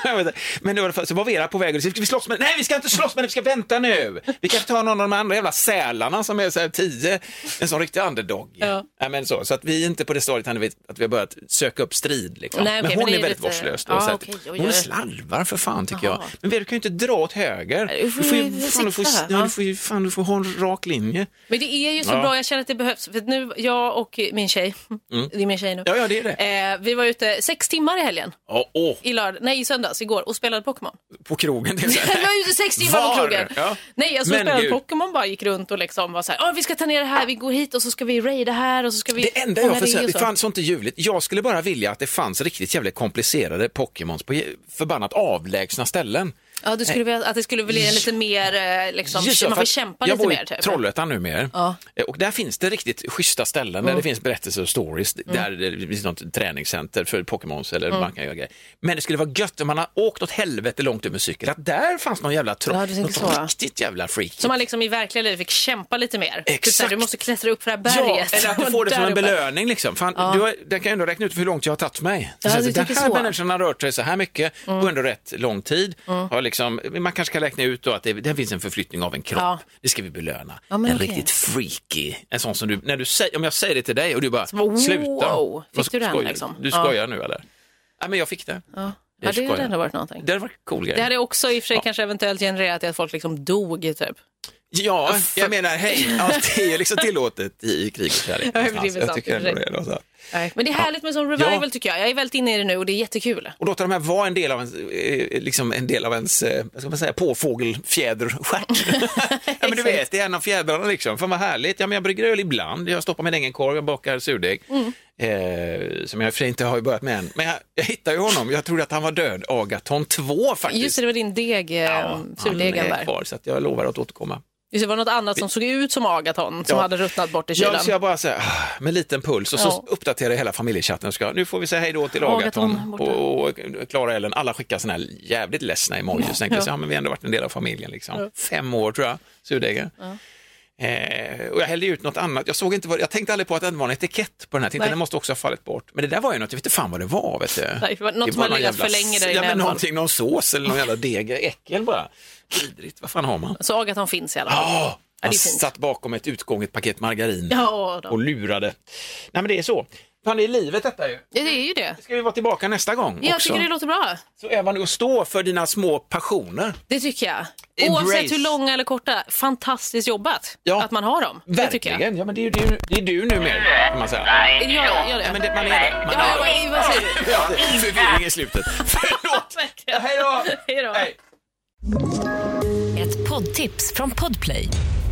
Jag vet inte. *laughs* Men då, var det- så var Vera på väg och så ska vi slåss med Nej, vi ska inte slåss med den, vi ska vänta nu. Vi kan ta någon av de andra jävla sälarna som är så här 10, en sån riktig underdog.
Ja.
Nej, men så, så att vi är inte på det stadiet ännu vet att vi har börjat söka upp strid. Liksom.
Nej,
men
okej, men
hon
det
är,
är
väldigt
lite-
vårdslös. då,
Ja,
så att-
okej, oj,
hon är
oj.
slarvar för fan tycker
Jaha.
jag. Men Vera, du kan ju inte dra åt höger.
Du får ju
fan, du får,
sikta.
ja,
Ja.
du får, ju- fan, du får ha en rak linje.
Men det är ju så
Ja.
bra, jag känner att det behövs. För att nu, jag och min tjej, det är min tjej nu.
Mm. Ja, ja, det är det.
Eh, vi var ute sex timmar i helgen,
Ja, åh,
i lörd- nej i söndags, igår, och spelade Pokémon.
på
*laughs*
krogen till
Jag var ute sex timmar
Var?
på krogen.
Ja.
Nej, jag stod och
Men
spelade
gud.
Pokémon bara gick runt och liksom var så här, "Åh, vi ska ta ner det här, vi går hit och så ska vi raida här och så ska vi...
Det enda jag
fånga det och
försöker,
så."
det fanns sånt i ljuvligt. Jag skulle bara vilja att det fanns riktigt jävligt komplicerade Pokémons på je- förbannat avlägsna ställen.
Ja, du skulle vilja, att det skulle bli en lite mer, eh, liksom,
Just det,
man
för
får
att
kämpa
jag
lite
bor i
mer. Typ.
Trollhättan numera.
Ja. Mm.
Eh, Och där finns det riktigt schyssta ställen där det finns berättelser och stories. Där det finns något träningscenter för Pokémons
Mm.
eller man kan göra grejer. Men det skulle vara gött om man har åkt åt helvete långt över cykel. Att där fanns någon jävla tro.
Ja, du tänker
något
så, ja.
riktigt jävla freak.
Så man liksom i verkliga livet fick kämpa lite mer.
Exakt.
Typ så här, du måste klättra upp för det här
Ja,
berget.
eller
*laughs*
att du får det som
Där
en
uppe.
belöning. Liksom. Fan, du har, den kan ju ändå räkna ut hur långt jag har tagit mig.
Ja,
Så
du
den
tycker
här
så. Mm.
människan har rört sig så här mycket på ändå rätt lång tid. Har liksom, man kanske kan räkna ut då att det, det finns en förflyttning av en kropp.
Ja.
Det ska vi belöna.
Ja,
en
men okej.
riktigt freaky. En sån som du, när du säger, om jag säger det till dig och du bara,
bara, wow,
sluta.
fick
Vad
du den,
skojar-
liksom?
Du
Ja.
skojar nu eller? Nej, men jag fick det.
Ja,
Jag
ja det
skojar.
hade ändå varit någonting.
Det var en cool grej.
Det hade också i och för sig kanske eventuellt genererat i att folk liksom dog typ.
Ja, jag menar, hej, allt är ju liksom tillåtet i krig och kärlek.
det är
någonstans.
sant,
jag tycker ändå det. alltså.
precis.
Då, så. här.
Nej. Men det är härligt med sån revival tycker jag. Jag är väldigt inne i det nu och det är jättekul.
och låta de här vara en del av ens, eh, liksom en del av ens eh, vad ska man säga,
*laughs*
påfågelfjäderstjärt. ja, men du vet, det är en av fjädrarna liksom. Fan vad härligt. Ja, men jag brygger öl ibland, jag stoppar min egen korv, jag bakar surdeg.
Mm.
Eh, som jag i och för sig inte har börjat med än. Men jag, jag hittade ju honom, jag trodde att han var död, Agaton 2 faktiskt.
Just det, det var din deg, eh,
Ja, Mm, han
surdegen
är
där.
kvar, så att jag lovar att återkomma.
Just det var något annat som såg ut som Agaton som
Ja.
hade ruttnat bort i kylan.
Ja, så jag bara så här, ah, med liten puls och så
Ja.
uppdaterar jag hela familjechatten. och Ska, nu får vi säga hej då till
Agaton
Agaton
borta.
och, och Klara Ellen. Alla skickar sådana här jävligt ledsna emojis. Ja. Tänkte, jag så, ja, men vi har ändå varit en del av familjen. Liksom. Fem år tror jag, surdegen. Eh, och jag hällde ut något annat. Jag, såg inte vad, jag tänkte aldrig på att det var en etikett på den här. Tänkte,
Nej.
den måste också ha fallit bort. Men det där var ju något, jag vet inte fan vad det var. Vet du.
Nej, det var något
var
som har
någon
legat
jävla
för länge där i
ja, men
näven.
någonting, Någon sås eller någon jävla deg, äckel bara. Vidrigt, vad fan har man?
Så Alltså, Agaton finns i alla fall.
Oh,
det är
han
fint.
satt bakom ett utgånget paket margarin
Ja,
och
då.
lurade. Nej men det är så. Fan det är livet detta ju.
Ja, det är ju det.
Ska vi vara tillbaka nästa gång
Jag
också?
tycker det låter bra.
Så är man och stå för dina små passioner.
Det tycker jag.
Embrace.
Oavsett hur långa eller korta, fantastiskt jobbat
Ja.
att man har dem. Det tycker jag.
Verkligen, ja men det är ju det är, ju- det är du nu mer kan man säga.
Jag gör det.
Nej, men det, man är det. Man
Ja,
är det.
ja, vad säger
*laughs*
du?
Ja, det är Förvirring i slutet. Förlåt!
Verkligen.
Hej då!
*laughs* Hej då.
Hej.
Ett poddtips från Podplay.